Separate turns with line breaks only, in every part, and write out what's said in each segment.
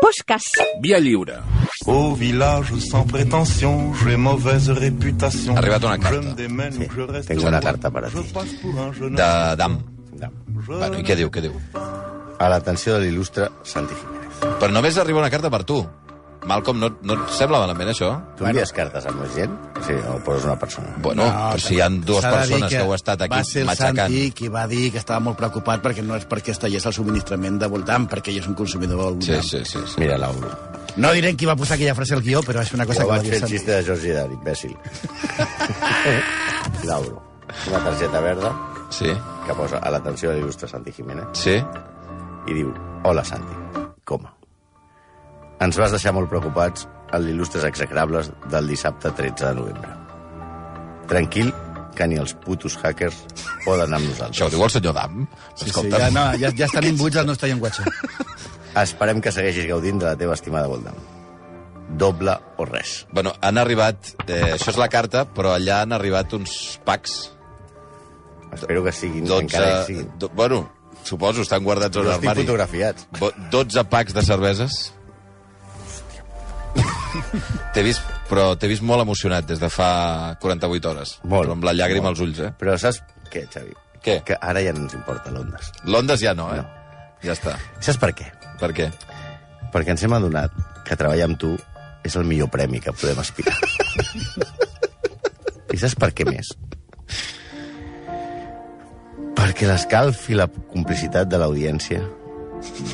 Fosques.
Via lliure.
Au village sans prétention, j'ai mauvaise réputation.
Ha arribat una carta.
Je me démène
Sí,
ou je reste
tengo una
roi.
carta para
Je
ti.
passe pour un jeune
De Dam.
No.
Bueno, I què diu, què diu?
A l'atenció de l'il·lustre Santi Jiménez.
Però només arriba una carta per tu. Malcolm, no, no et sembla malament, això?
Tu envies cartes amb la gent? Sí, o poses una persona?
Bueno, no, però si hi ha dues
Ah, S'ha de dir
persones que, que heu estat
Va
aquí
ser el
matxacant...
Santi qui va dir que estava molt preocupat perquè no és perquè es tallés el subministrament de voltant, perquè ell és un consumidor de
Sí,
voltant.
sí, sí. sí.
Mira, Lauro.
No direm qui va posar aquella frase al guió, però és una cosa
Jo
que va
vaig
dir
fer
el
el
Santi.
xiste de Jordi Dan, imbècil. Lauro. Una targeta verda
Sí,
que posa a l'atenció de l'il·lustre Santi Jiménez
sí.
i diu, hola Santi, coma. Ens vas deixar molt preocupats en l'il·lustres execrables del dissabte 13 de novembre. Tranquil, que ni els putos hackers poden amb
Això ho
nosaltres.
diu el senyor Dam.
Sí, sí, ja, no, ja, ja estan imbuts al nostre llenguatge.
Esperem que segueixis gaudint de la teva estimada Voldam. Doble o res.
Bueno, han arribat... Eh, això és la carta, però allà han arribat uns packs.
Espero que siguin, encara que
12...
siguin.
Do, bueno, suposo, estan guardats a un
Jo estic
armari.
fotografiats.
Bo- 12 packs de cerveses. T'he vist, però t'he vist molt emocionat des de fa 48 hores.
Molt.
Però amb la llàgrima
Molt.
als ulls, eh?
Però saps què, Xavi?
Què?
Que ara ja no ens importa l'Ondas.
Londres ja no, eh?
No.
Ja està.
Saps per què?
Per què?
Perquè ens hem adonat que treballar amb tu és el millor premi que podem aspirar. I saps per què més? Perquè l'escalf i la complicitat de l'audiència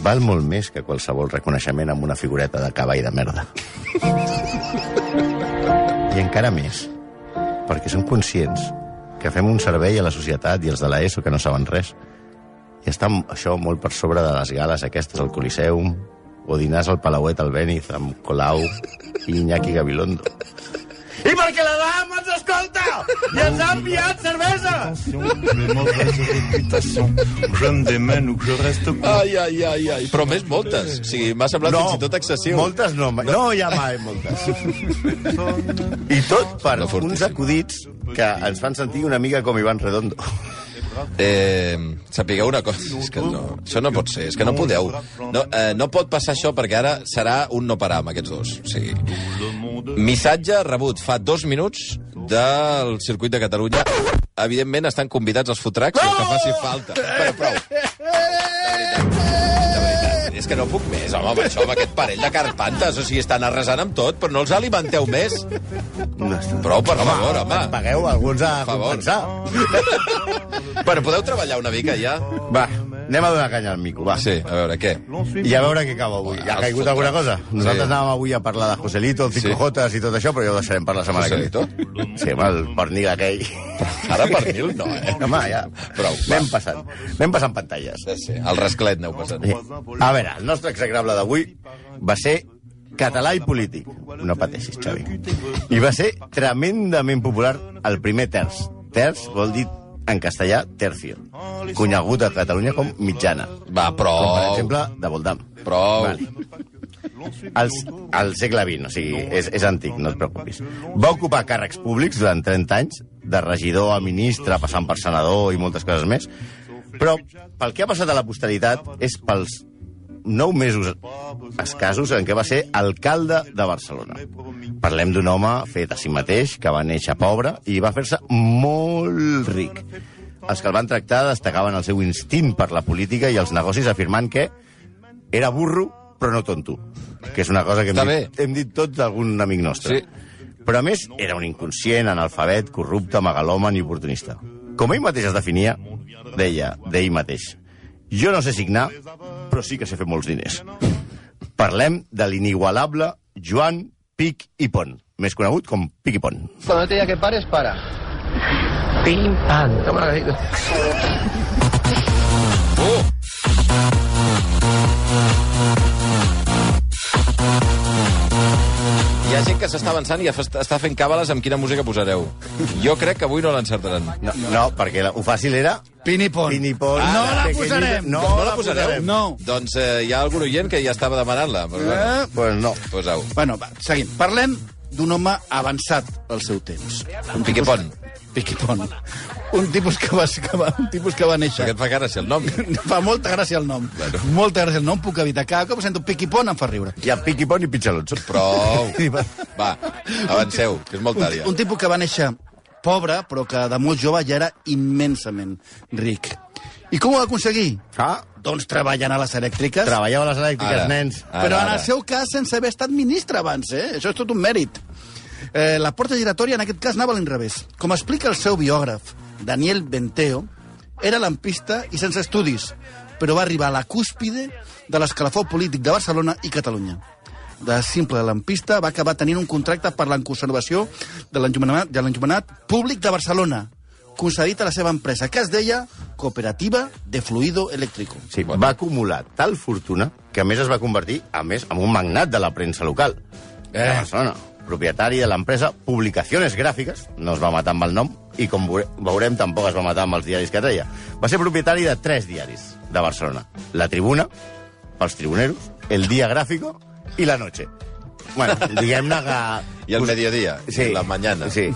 val molt més que qualsevol reconeixement amb una figureta de cavall de merda. I encara més, perquè som conscients que fem un servei a la societat i els de l'ESO que no saben res. I està m- això molt per sobre de les gales aquestes al Coliseum o dinars al Palauet al Béniz amb Colau i Iñaki Gabilondo. I perquè la dama ens escolta i ens ha enviat cervesa!
prétention, j'ai mauvaise réputation. Je me démène ou que je reste cool.
Ai, ai, ai, ai. Però més moltes. O sigui, m'ha semblat fins i tot excessiu.
Moltes no, mai. no hi ha mai moltes. I tot per
No,
no
fortíssim.
uns acudits que ens fan sentir una mica com Ivan Redondo.
Eh, sapigueu una cosa, és que no, això no pot ser, és que no podeu. No, eh, no pot passar això perquè ara serà un no parar amb aquests dos. O sigui, missatge rebut fa dos minuts del circuit de Catalunya. Evidentment estan convidats els fotracs, el que faci falta. Però prou. De veritat, de veritat. És que no puc més, home, amb això, amb aquest parell de carpantes. O sigui, estan arrasant amb tot, però no els alimenteu més. Prou, per favor, home.
Pagueu alguns a
Per favor.
compensar.
Però podeu treballar una mica, ja?
Va, anem a donar canya al mico, va.
Sí, a veure, què?
I a veure què cau avui.
Bueno,
Ha caigut
els
alguna cosa?
fotrats.
Nosaltres
Sí.
anàvem avui a parlar de Joselito, el
Sí.
Cinco Jotas i tot això, però ja ho deixarem per la setmana que ve.
Joselito?
Sí, amb el pernil aquell.
Ara per mil no, eh?
Home, ja.
Prou, va.
Anem passant. Anem passant pantalles.
Sí, sí, el rasclet aneu passant.
Sí. A veure, el nostre execrable d'avui va ser català i polític. No pateixis, Xavi. I va ser tremendament popular el primer terç. Terç vol dir, en castellà, tercio. Conegut a Catalunya com mitjana.
Va,
Com, per
prou,
exemple, de Voldam.
prou.
Vale. Al, al segle XX, o sigui, és, és antic, no et preocupis. Va ocupar càrrecs públics durant 30 anys, de regidor a ministre, passant per senador i moltes coses més, però pel que ha passat a la posteritat és pels 9 mesos escassos en què va ser alcalde de Barcelona. Parlem d'un home fet a si mateix, que va néixer pobre i va fer-se molt ric. Els que el van tractar destacaven el seu instint per la política i els negocis afirmant que era burro, però no tonto. Que és una cosa que hem,
Està
dit, hem dit tots d'algun amic nostre.
Sí.
Però a més, era un inconscient, analfabet, corrupte, megalòman i oportunista. Com ell mateix es definia, deia, d'ell mateix. Jo no sé signar, però sí que sé fer molts diners. Parlem de l'inigualable Joan Pic i Pont, més conegut com Pic i Pont.
Cuando te diga que pares, para. Pim, pam. Toma,
Hi ha gent que s'està avançant i fa- està fent càbales amb quina música posareu. Jo crec que avui no l'encertaran.
No, no, perquè la, ho fàcil era...
Pin i pon.
Pin i Pont.
no
Ah,
la
pequeñito.
posarem.
No,
No
la
la posareu?
posarem.
No.
Doncs eh, hi ha algun oient que ja estava demanant-la. Però, bueno,
Eh?
Pues doncs no.
Poseu.
Bueno, va, seguim. Parlem d'un home avançat al seu temps.
Un piquepont.
Piquipon. Un tipus que va, que va, un tipus que va
Per
néixer...
què et fa cara si el nom?
Fa molta gràcia el nom. Bueno. Molta gràcia el nom, puc evitar. Cada cop sento Piquipon, em fa riure.
Hi ha Piqui Pon i Pitxalotso.
Prou. Va, avanceu, que és molt
Un,
tària.
un tipus que va néixer pobre, però que de molt jove ja era immensament ric. I com ho va aconseguir?
Ah,
Doncs treballant a les elèctriques.
treballava a les elèctriques,
Ara.
nens.
Ah.
Però en
ara.
el seu cas, sense haver estat ministre abans, eh? Això és tot un mèrit. Eh, la porta giratòria, en aquest cas, anava a l'inrevés. Com explica el seu biògraf, Daniel Benteo, era lampista i sense estudis, però va arribar a la cúspide de l'escalafó polític de Barcelona i Catalunya. De simple lampista va acabar tenint un contracte per la conservació de l'enllumenat de l'enllumenat públic de Barcelona, concedit a la seva empresa, que es deia Cooperativa de Fluido Eléctrico.
Sí, bueno. Va acumular tal fortuna que a més es va convertir, a més, en un magnat de la premsa local. Eh. De Barcelona, propietari de l'empresa Publicaciones Gràfiques, no es va matar amb el nom, i com veure- veurem tampoc es va matar amb els diaris que treia. Va ser propietari de tres diaris de Barcelona. La Tribuna, pels tribuneros, El Día Gráfico i La Noche. Bueno, diguem-ne que...
I el mediodía, i la mañana.
Sí,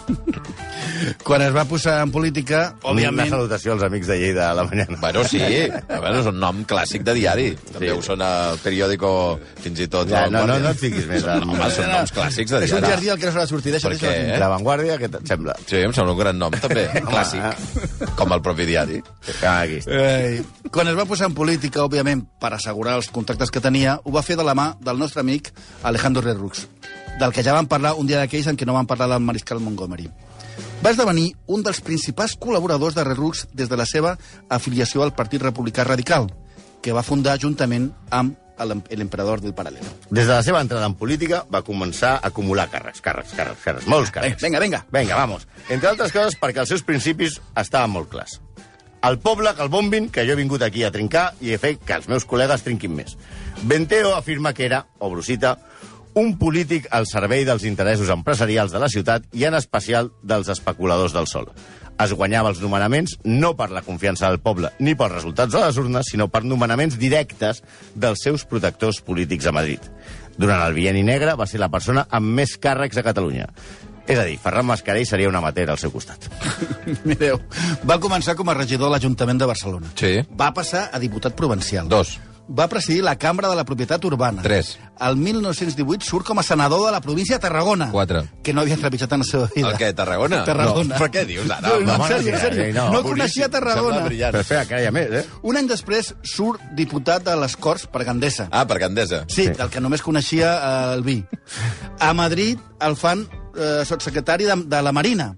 Quan es va posar en política,
Òbviament.
òbviament,
una salutació als amics de Lleida a la mañana.
Bueno, sí, a veure, és un nom clàssic de diari. També
Sí.
ho sona el periòdico, fins i tot.
Ja,
La
no, no,
Vanguardia.
no et fiquis més en...
Home, són noms clàssics de
És un
diari.
jardí al que no s'ha de sortir, deixa,
Per
deixa.
què?
deixa.
eh?
La Vanguardia, què et sembla?
Sí, em sembla un gran nom, també, clàssic. Com el propi diari.
Ah, aquí està.
Ei. Quan es va posar en política, òbviament, per assegurar els contactes que tenia, ho va fer de la mà del nostre amic Alejandro Lerroux, del que ja vam parlar un dia d'aquells en què no vam parlar del mariscal Montgomery. Va esdevenir un dels principals col·laboradors de Lerroux des de la seva afiliació al Partit Republicà Radical, que va fundar juntament amb l'em- l'emperador del Paralelo.
Des de la seva entrada en política va començar a acumular càrrecs, càrrecs, càrrecs, càrrecs, molts càrrecs.
Eh, Vinga, vinga.
Vinga, vamos. Entre altres coses perquè els seus principis estaven molt clars. El poble que el bombin, que jo he vingut aquí a trincar i he fet que els meus col·legues trinquin més. Benteo afirma que era, o Brusita, un polític al servei dels interessos empresarials de la ciutat i en especial dels especuladors del sol. Es guanyava els nomenaments no per la confiança del poble ni pels resultats de les urnes, sinó per nomenaments directes dels seus protectors polítics a Madrid. Durant el Bienni Negre va ser la persona amb més càrrecs a Catalunya. És a dir, Ferran Mascarell seria una matera al seu costat.
Mireu, va començar com a regidor de l'Ajuntament de Barcelona.
Sí.
Va passar a diputat provincial.
Dos.
Va presidir la Cambra de la Propietat Urbana.
Tres.
El 1918 surt com a senador de la província de Tarragona.
Quatre.
Que no havia trepitjat en la seva vida.
El què, Tarragona?
Tarragona.
No, però què dius ara?
No,
Home,
en sèrio, en
no,
sèrio.
no,
No,
boníssim.
coneixia Tarragona.
Sembla brillant.
Però espera, que ara hi ha més, eh?
Un any després surt diputat de les Corts per Gandesa.
Ah, per Gandesa.
Sí, del que només coneixia eh, el vi. A Madrid el fan eh, sotssecretari de, de la Marina.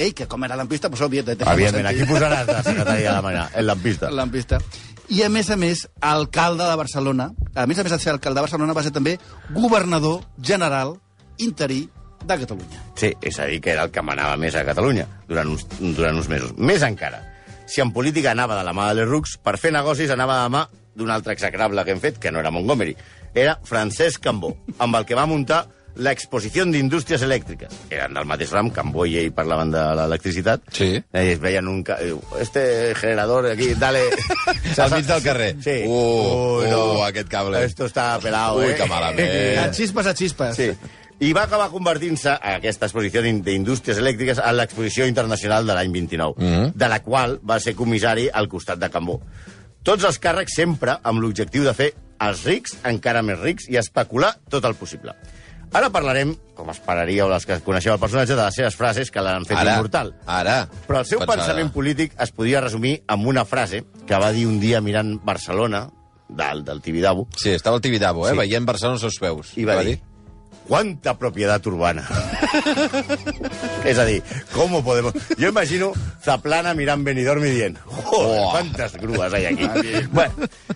Ell, que com era lampista, doncs, òbviament... té molt
Evidentment,
sentit.
aquí posaràs la secretària de la manera, en l'ampista.
Lampista. I, a més a més, alcalde de Barcelona, a més a més de ser alcalde de Barcelona, va ser també governador general interí de Catalunya.
Sí, és a dir, que era el que manava més a Catalunya durant uns, durant uns mesos. Més encara, si en política anava de la mà de les Rux, per fer negocis anava de la mà d'un altre execrable que hem fet, que no era Montgomery. Era Francesc Cambó, amb el que va muntar l'exposició d'indústries elèctriques. Eren del mateix ram, Cambó i ell parlaven de l'electricitat.
Sí.
Eh, es veien un... ca- diu, Este generador aquí, dale...
Al mig del carrer.
Sí.
Uh, uh, aquest cable.
Esto está pelado,
Ui,
eh?
que malament. Eh.
A xispes, a xispes.
Sí. I va acabar convertint-se a aquesta exposició d'in- d'indústries elèctriques a l'exposició internacional de l'any 29, mm
Mm-hmm.
-hmm. de la qual va ser comissari al costat de Cambó. Tots els càrrecs sempre amb l'objectiu de fer els rics encara més rics i especular tot el possible. Ara parlarem, com esperaríeu les que coneixeu el personatge, de les seves frases que l'han fet
Ara,
immortal.
ara.
Però el seu
Pensava.
pensament polític es podia resumir amb una frase que va dir un dia mirant Barcelona, dalt del Tibidabo,
Sí, estava al Tibidabo, eh?
Sí.
Veient Barcelona als seus peus.
i va
Què
dir... ¿Cuánta propiedad urbana? es decir, ¿cómo podemos...? Yo imagino Zaplana mirant Benidorm i dient joder,
Uah.
quantes grues hi ha aquí. bueno,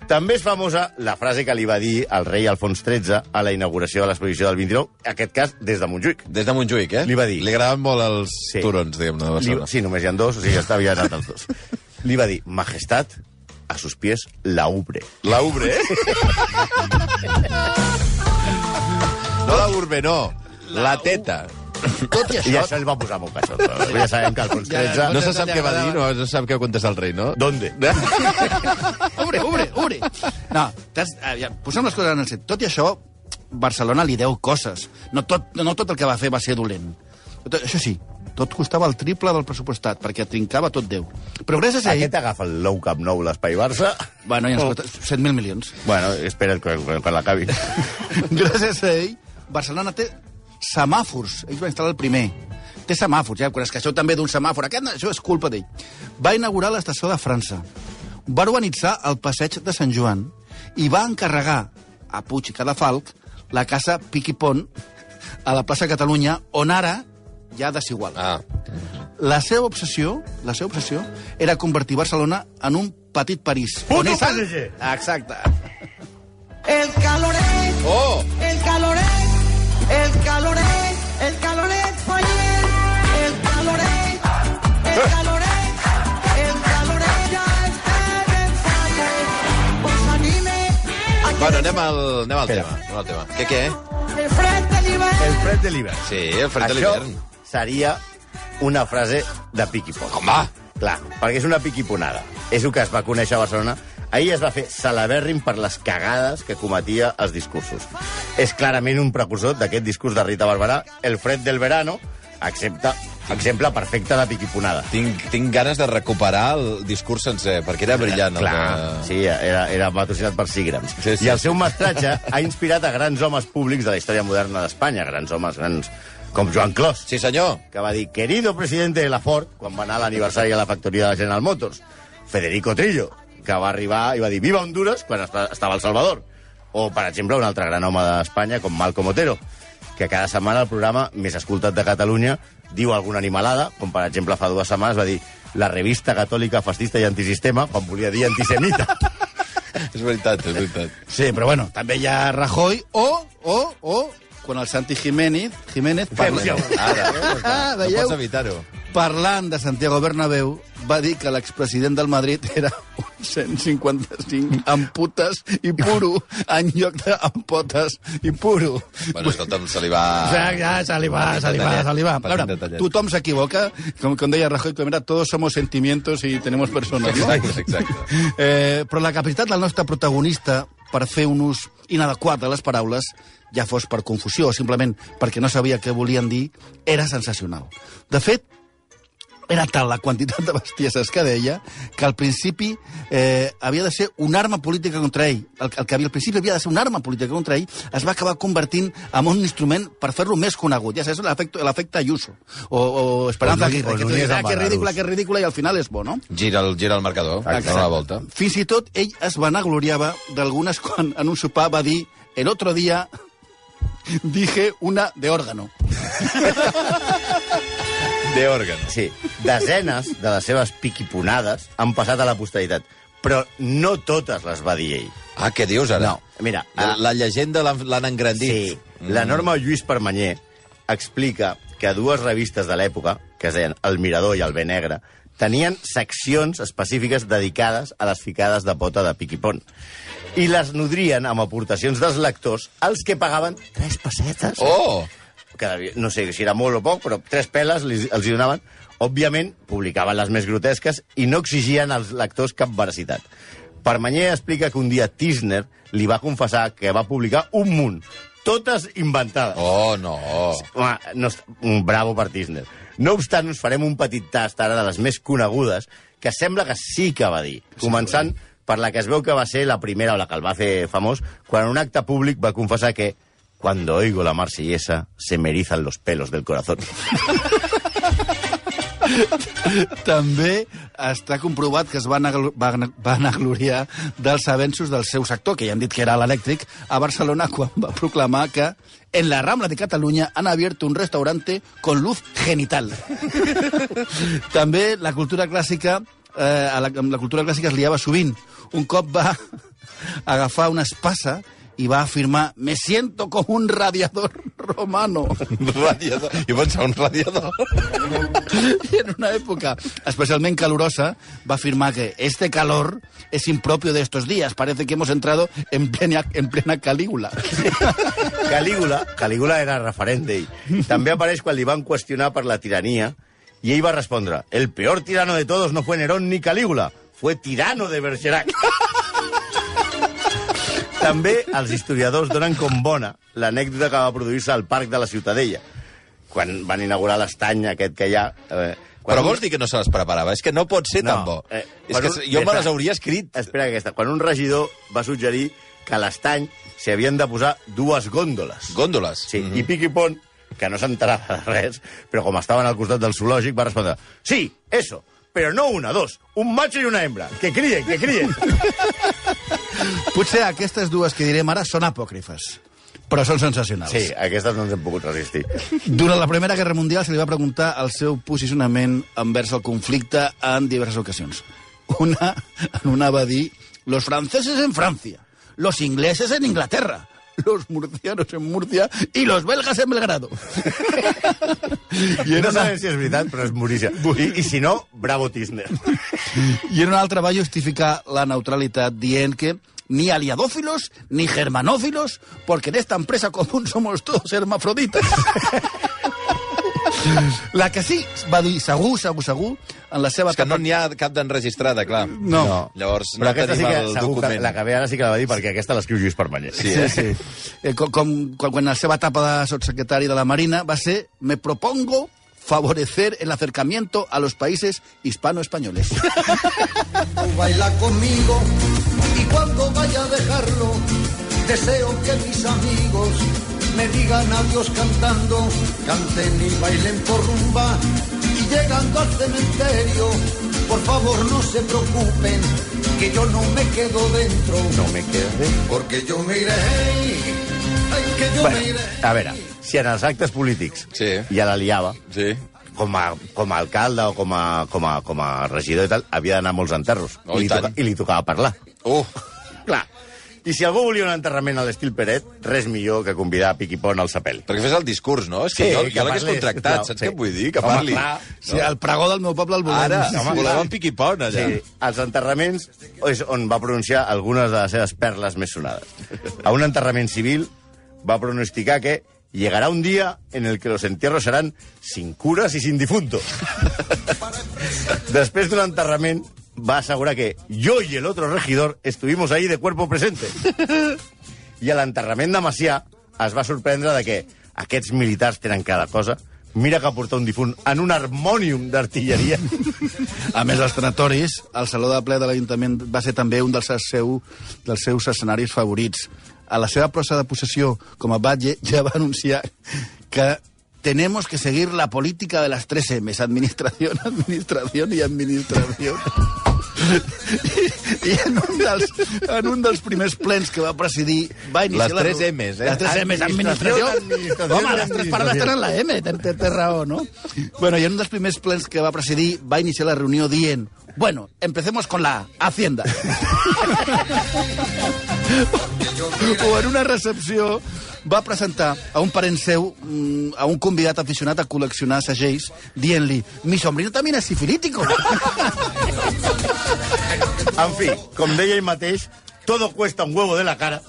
també és famosa la frase que li va dir el rei Alfons XIII a la inauguració de l'exposició del 29, en aquest cas des de Montjuïc.
Des de Montjuïc, eh?
Li va dir.
Li agraden molt els
Sí.
turons, diguem-ne, de
Li,
Barcelona.
sí, només hi ha dos, o sigui, estava ja anat els dos. Li va dir, majestat, a sus pies la ubre.
La Ubre, eh? no la Urbe, no. La teta.
Tot i
I
això,
això el va posar molt caixot. Ja sabem que Alfons
Ja,
XIII...
Eh, No se sap què va dir, no, no se sap què va contestar el rei, no?
¿Dónde?
obre, obre, obre. No, t'has- eh, ja, posem les coses en el set. Tot i això, Barcelona li deu coses. No tot, no tot el que va fer va ser dolent. Tot- Això sí, tot costava el triple del pressupostat, perquè trincava tot Déu. Però gràcies a ell...
Aquest agafa el Nou Camp Nou, l'Espai Barça.
Bueno, ja ens costa 7.000 milions.
Bueno, espera't quan, quan, quan l'acabi.
Gràcies a ell, Barcelona té semàfors. Ell va instal·lar el primer. Té semàfors, ja, quan es queixeu també d'un semàfor. Aquest, no, això és culpa d'ell. Va inaugurar l'estació de França. Va urbanitzar el passeig de Sant Joan i va encarregar a Puig i Cadafalc la casa Piquipon a la plaça Catalunya, on ara ja desigual.
Ah,
La seva obsessió, la seva obsessió era convertir Barcelona en un petit París.
Puto
On és ara-
PSG.
Exacte.
El caloré,
Oh!
el caloré, el caloré, el caloré español. El caloré, el caloré, el caloré ya está en el valle. Os anime a que
Bueno, anem al, anem al
Espera.
tema. Anem al tema. Què, què?
el frente
El
nivel.
fred de l'hivern.
Sí, el fred de
Això
l'hivern.
seria una frase de piqui poc.
Home!
Clar, perquè és una piquiponada. És el que es va conèixer a Barcelona. Ahir es va fer celebèrrim per les cagades que cometia els discursos. És clarament un precursor d'aquest discurs de Rita Barberà, el fred del verano, excepte, exemple perfecte de piquiponada.
Tinc, tinc ganes de recuperar el discurs sencer, perquè era brillant. el
Clar,
de...
sí, era, era patrocinat per Sigrams.
Sí,
Sí,
sí.
sí. I el seu mestratge ha inspirat a grans homes públics de la història moderna d'Espanya, grans homes grans com Joan Clos,
Sí, senyor.
que va dir querido presidente de la Ford quan va anar a l'aniversari de la factoria de la General Motors. Federico Trillo, que va arribar i va dir viva Honduras quan esta- estava al Salvador. O, per exemple, un altre gran home d'Espanya com Malcom Otero, que cada setmana el programa més escoltat de Catalunya diu alguna animalada, com per exemple fa dues setmanes va dir la revista catòlica fascista i antisistema, quan volia dir antisemita.
És veritat, és veritat.
Sí, però bueno, també hi ha Rajoy o, o, o, quan el Santi Jiménez, Jiménez parla,
Ara,
Ah,
no
veieu?
pots evitar-ho.
parlant de Santiago Bernabéu, va dir que l'expresident del Madrid era un 155 amb putes i puro, en lloc de amb potes i puro.
Bueno, escolta'm, se li va...
Ja, ja, se li va, se li va, se li va.
Petit
A veure,
detallet.
tothom s'equivoca, com, com deia Rajoy, com era, todos somos sentimientos y tenemos personas, no?
Exacte, exacte.
Eh, però la capacitat del nostre protagonista per fer un ús inadequat de les paraules, ja fos per confusió o simplement perquè no sabia què volien dir, era sensacional. De fet, era tal la quantitat de bestieses que deia que al principi eh, havia de ser una arma política contra ell. El, el que havia, al principi havia de ser una arma política contra ell es va acabar convertint en un instrument per fer-lo més conegut. Ja saps, l'efecte l'efecte Ayuso o, o Esperanza
O Núñez-
Aguirre,
o
que tu
Núñez
dius, ah, que
Amargarús".
ridícula, que ridícula, i al final és bo, no?
Gira el, gira el marcador,
Exacte.
dona la volta.
Fins i tot ell es vanagloriava d'algunes quan en un sopar va dir el otro día dije una de órgano.
De òrgan.
Sí, desenes de les seves piquiponades han passat a la posteritat, però no totes les va dir ell.
Ah, què dius ara?
No, mira,
La,
ah.
la llegenda l'han l'han engrandit.
Sí, la norma Lluís Permanyer explica que dues revistes de l'època, que es deien El Mirador i El Bé Negre, tenien seccions específiques dedicades a les ficades de pota de Piquipon. I les nodrien amb aportacions dels lectors, els que pagaven tres pessetes.
Oh!
Cada dia, no sé si era molt o poc, però tres peles li, els hi donaven. Òbviament, publicaven les més grotesques i no exigien als lectors cap veracitat. Permanyer explica que un dia Tisner li va confessar que va publicar un munt, totes inventades.
Oh, no.
Home, no, est- un bravo per Tisner. No obstant, us farem un petit tast ara de les més conegudes, que sembla que sí que va dir. Començant per la que es veu que va ser la primera o la que el va fer famós, quan en un acte públic va confessar que Cuando oigo la marsellesa, se me erizan los pelos del corazón.
També està comprovat que es van vanagloriar dels avenços del seu sector, que ja hem dit que era l'elèctric, a Barcelona quan va proclamar que en la Rambla de Catalunya han abierto un restaurante con luz genital. També la cultura clàssica eh, a la, amb la cultura clàssica es liava sovint. Un cop va agafar una espasa i va afirmar «Me siento como un radiador romano».
Radiador. Jo pensava un radiador.
Y en una época especialmente calurosa, va a afirmar que este calor es impropio de estos días. Parece que hemos entrado en plena, en plena Calígula.
Calígula, Calígula era referent d'ell. També apareix quan li van qüestionar per la tirania i ell va respondre «El peor tirano de todos no fue Nerón ni Calígula, fue tirano de Bergerac». També els historiadors donen com bona l'anècdota que va produir-se al Parc de la Ciutadella, quan van inaugurar l'estany aquest que hi ha... Eh, quan
Però
un-
vols dir que no se les preparava? És que no pot ser
No,
tan bo.
eh,
és
per
que
un-
jo me
espera.
les hauria escrit.
Espera aquesta. Quan un regidor va suggerir que a l'estany s'hi havien de posar dues gòndoles.
Gòndoles. Mhm.
Sí, mm -hmm. i Piqui Pont, que no s'enterava de res, però com estaven al costat del zoològic, va respondre Sí, eso, però no una, dos, un macho i una hembra. Que crien, que crien.
Potser aquestes dues que direm ara són apòcrifes, però són sensacionals.
Sí, aquestes no ens hem pogut resistir.
Durant la Primera Guerra Mundial se li va preguntar el seu posicionament envers el conflicte en diverses ocasions. Una, en una va dir «Los franceses en Francia, los ingleses en Inglaterra, los murcianos en Murcia y los belgas en Belgrado». I
I
en,
no
una,
sabem si és veritat, però és morícia. I, i si no, bravo Tisner.
I en una altra va justificar la neutralitat dient que ni aliadófilos ni germanófilos, porque en esta empresa común somos todos hermafroditas. la que sí va dir segur, segur, segur, en la seva
És que no
etapa...
n'hi ha cap d'enregistrada, clar.
No.
Llavors,
Però
no
aquesta sí
tenim
que,
el
segur que
document.
la que ve ara sí que la va dir, perquè aquesta l'escriu Lluís Permanyer.
Sí,
Sí,
eh?
sí. Eh, com, com, quan, quan la seva etapa de sotsecretari de la Marina va ser me propongo favorecer el acercamiento a los países hispano-españoles.
Tú baila conmigo y cuando vaya a dejarlo, deseo que mis amigos me digan adiós cantando, canten y bailen por rumba y llegando al cementerio, por favor no se preocupen que yo no me quedo dentro,
No me quedo bé.
porque yo me iré, ay, que yo me
Bueno,
iré.
a veure, si en els actes polítics
Sí.
ja la liava,
Sí.
com a, com a alcalde o com a, com a, com a regidor i tal, havia d'anar a molts enterros.
Oh, i
I, li
tant.
toca, I li tocava parlar.
Uh,
Clar. I si algú volia un enterrament a l'estil Peret, res millor que convidar a Piquipon al sapeli.
perquè fes el discurs, no? És que
Sí,
jo,
que
jo l'hagués
parli,
contractat,
sisplau.
saps
Sí.
què vull dir? Que
Home,
parli.
clar.
Sí, el pregó del meu poble el volem.
Ah. Ara,
Sí, sí.
volem en piquipon, allà.
Sí, als enterraments és on va pronunciar algunes de les seves perles més sonades. A un enterrament civil va pronosticar que llegará un día en el que los entierros serán sin curas y sin difuntos. Després d'un enterrament va assegurar que yo y el otro regidor estuvimos ahí de cuerpo presente. I a l'enterrament de Macià es va sorprendre de que aquests militars tenen cada cosa. Mira que portar un difunt en un harmònium d'artilleria.
A més, els tanatoris, el Saló de Ple de l'Ajuntament va ser també un dels, seu, dels seus escenaris favorits. A la seva plaça de possessió com a batlle ja va anunciar que tenemos que seguir la política de las tres M's, administración, administración i administración. I, I en un, dels, en un dels primers plens que va presidir va iniciar...
Les
la-
tres Ms, eh?
Les tres M's, administració.
Administración, administración,
Home, les tres paraules tenen la M, té, té, té raó, no? Bueno, i en un dels primers plens que va presidir va iniciar la reunió dient E bueno, empecemos con la Hacienda. o en una recepció va presentar a un parent seu, mm, a un convidat aficionat a col·leccionar segells, dient-li, mi sombrino también es sifilítico.
En fi, com deia ell mateix, todo cuesta un huevo de la cara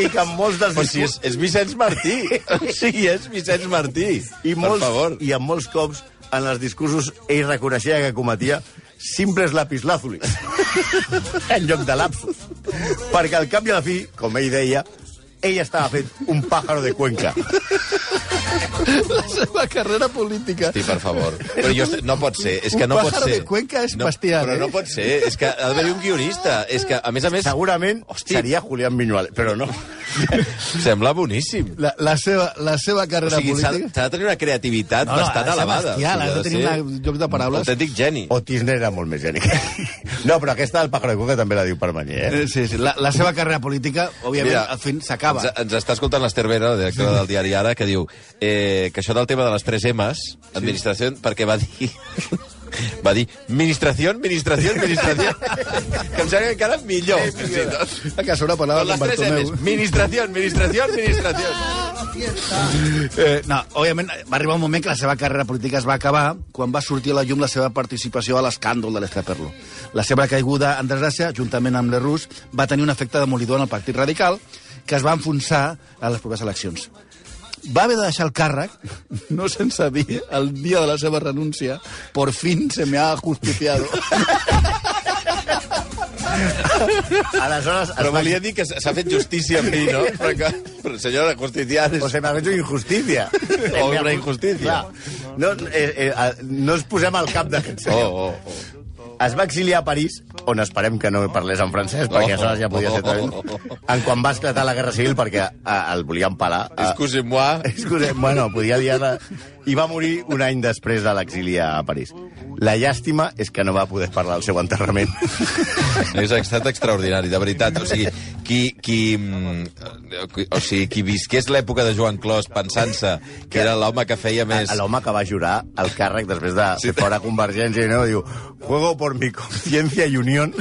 i que en molts dels
Però si és, és Vicenç Martí. O sigui, és Vicenç Martí.
i molts,
Per favor.
I en molts cops, en els discursos, ell reconeixia que cometia simples lapislàzulis en lloc de lapsus. Perquè al cap i a la fi, com ell deia, ell estava fent un pájaro de Cuenca.
la seva carrera política.
Sí, per favor. Però jo, est- no pot ser, és que
Un
no pot
pájaro
ser.
de Cuenca és
no,
bestial,
Però
eh?
no pot ser, és que ha d'haver-hi un guionista. És que, a més a més,
Segurament
Hosti.
seria Julián Viñuales, però no.
sembla boníssim.
La, la, seva, la seva
O
carrera
sigui, s'ha
política...
s'ha de tenir una creativitat
No, no,
bastant
ha de ser
elevada. O sigui,
bestial, ha de tenir
ser
una- un joc de paraules.
un Autèntic geni.
O Tisner era molt més gènic. No, però aquesta del pájaro de Cuenca també la diu Permanyer, eh?
Eh, Sí, sí, la, la seva carrera política, òbviament,
Mira,
al fin s'acaba.
Ens, ens està escoltant l'Ester Vera, la directora del diari Ara, que diu eh, que això del tema de les 3 M's, administració, perquè va dir... va dir, administració, administració, administració, que em sembla que encara millor. fins i tot.
Que a sobre parlava
Són
amb
les 3
Bartomeu.
M's, administració, administració, administració.
Eh, no, òbviament, va arribar un moment que la seva carrera política es va acabar quan va sortir a la llum la seva participació a l'escàndol de l'Escaperlo. La seva caiguda en desgràcia, juntament amb l'Errus, va tenir un efecte demolidor en el Partit Radical, que es va enfonsar a les properes eleccions. Va haver de deixar el càrrec, no sense dir, el dia de la seva renúncia, por fin se me ha justiciado.
Aleshores, es
Però
va-
volia dir que s- s'ha fet justícia amb mi, no? Però, que, però senyora Justician...
O
És...
se m'ha fet una injustícia.
O una injustícia.
Clar. No, eh, eh, eh, no ens posem al cap d'aquest
Oh,
senyor.
oh, oh.
Es va exiliar a París, on esperem que no parlés en francès,
Oh,
perquè aleshores ja podia ser talent, en quan va esclatar la Guerra Civil perquè eh, el volien pelar. eh,
Excusez-moi.
és que, bueno, podia liar-la... I va morir un any després de l'exili a París. La llàstima és que no va poder parlar al seu enterrament.
No, és estat extraordinari, de veritat. O sigui, qui, qui, mm, o sigui, qui visqués l'època de Joan Clos pensant-se que era l'home que feia més...
A Ah, L'home que va jurar el càrrec després de
Sí.
sí. fora Convergència i no, diu «Juego por mi conciencia y unión».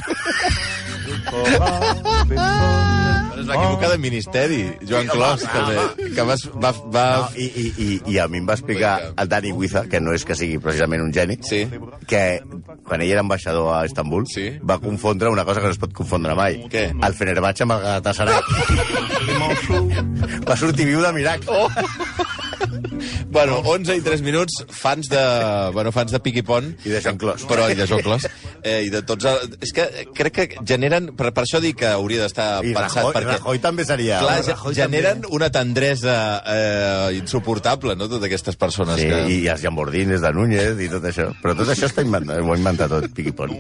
Es va equivocar de ministeri, Joan Clos, també, que va, va, va
No, i, i, i, I a mi em va explicar el Dani Huiza, que no és que sigui precisament un geni,
Sí.
que quan ell era ambaixador a Istanbul
Sí.
va confondre una cosa que no es pot confondre mai.
Què?
El Fenerbahçe amb el Galatasaray. va sortir viu de miracle. Oh.
Bueno, 11 i 3 minuts, fans de, bueno, fans de Piqui Pont.
I de Joan Clos.
Però, I de Joan Clos. Eh, I de tots... El, és que crec que generen... Per, per això dic que hauria d'estar
I
pensat,
Rajoy,
perquè...
Rajoy també seria...
Clar, ge-
Rajoy
generen una tendresa eh, insuportable, no?, totes aquestes persones
Sí,
que...
i els llambordines de Núñez i tot això. Però tot això està inventat, ho ha inventat tot Piqui Pont.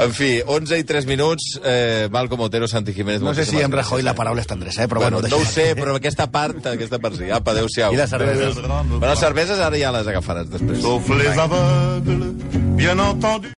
En fi, 11 i 3 minuts, eh, Malcom Otero, Santi Jiménez...
No sé si
moltíssimes
en
gràcies.
Rajoy la paraula és tendresa, eh? però
Bueno,
bueno,
no ho sé, però aquesta part, aquesta part sí. Apa, adéu-siau.
I les cerveses.
Bueno, les cerveses ara ja les agafaràs després.
Sauf les aveugles, bien entendu.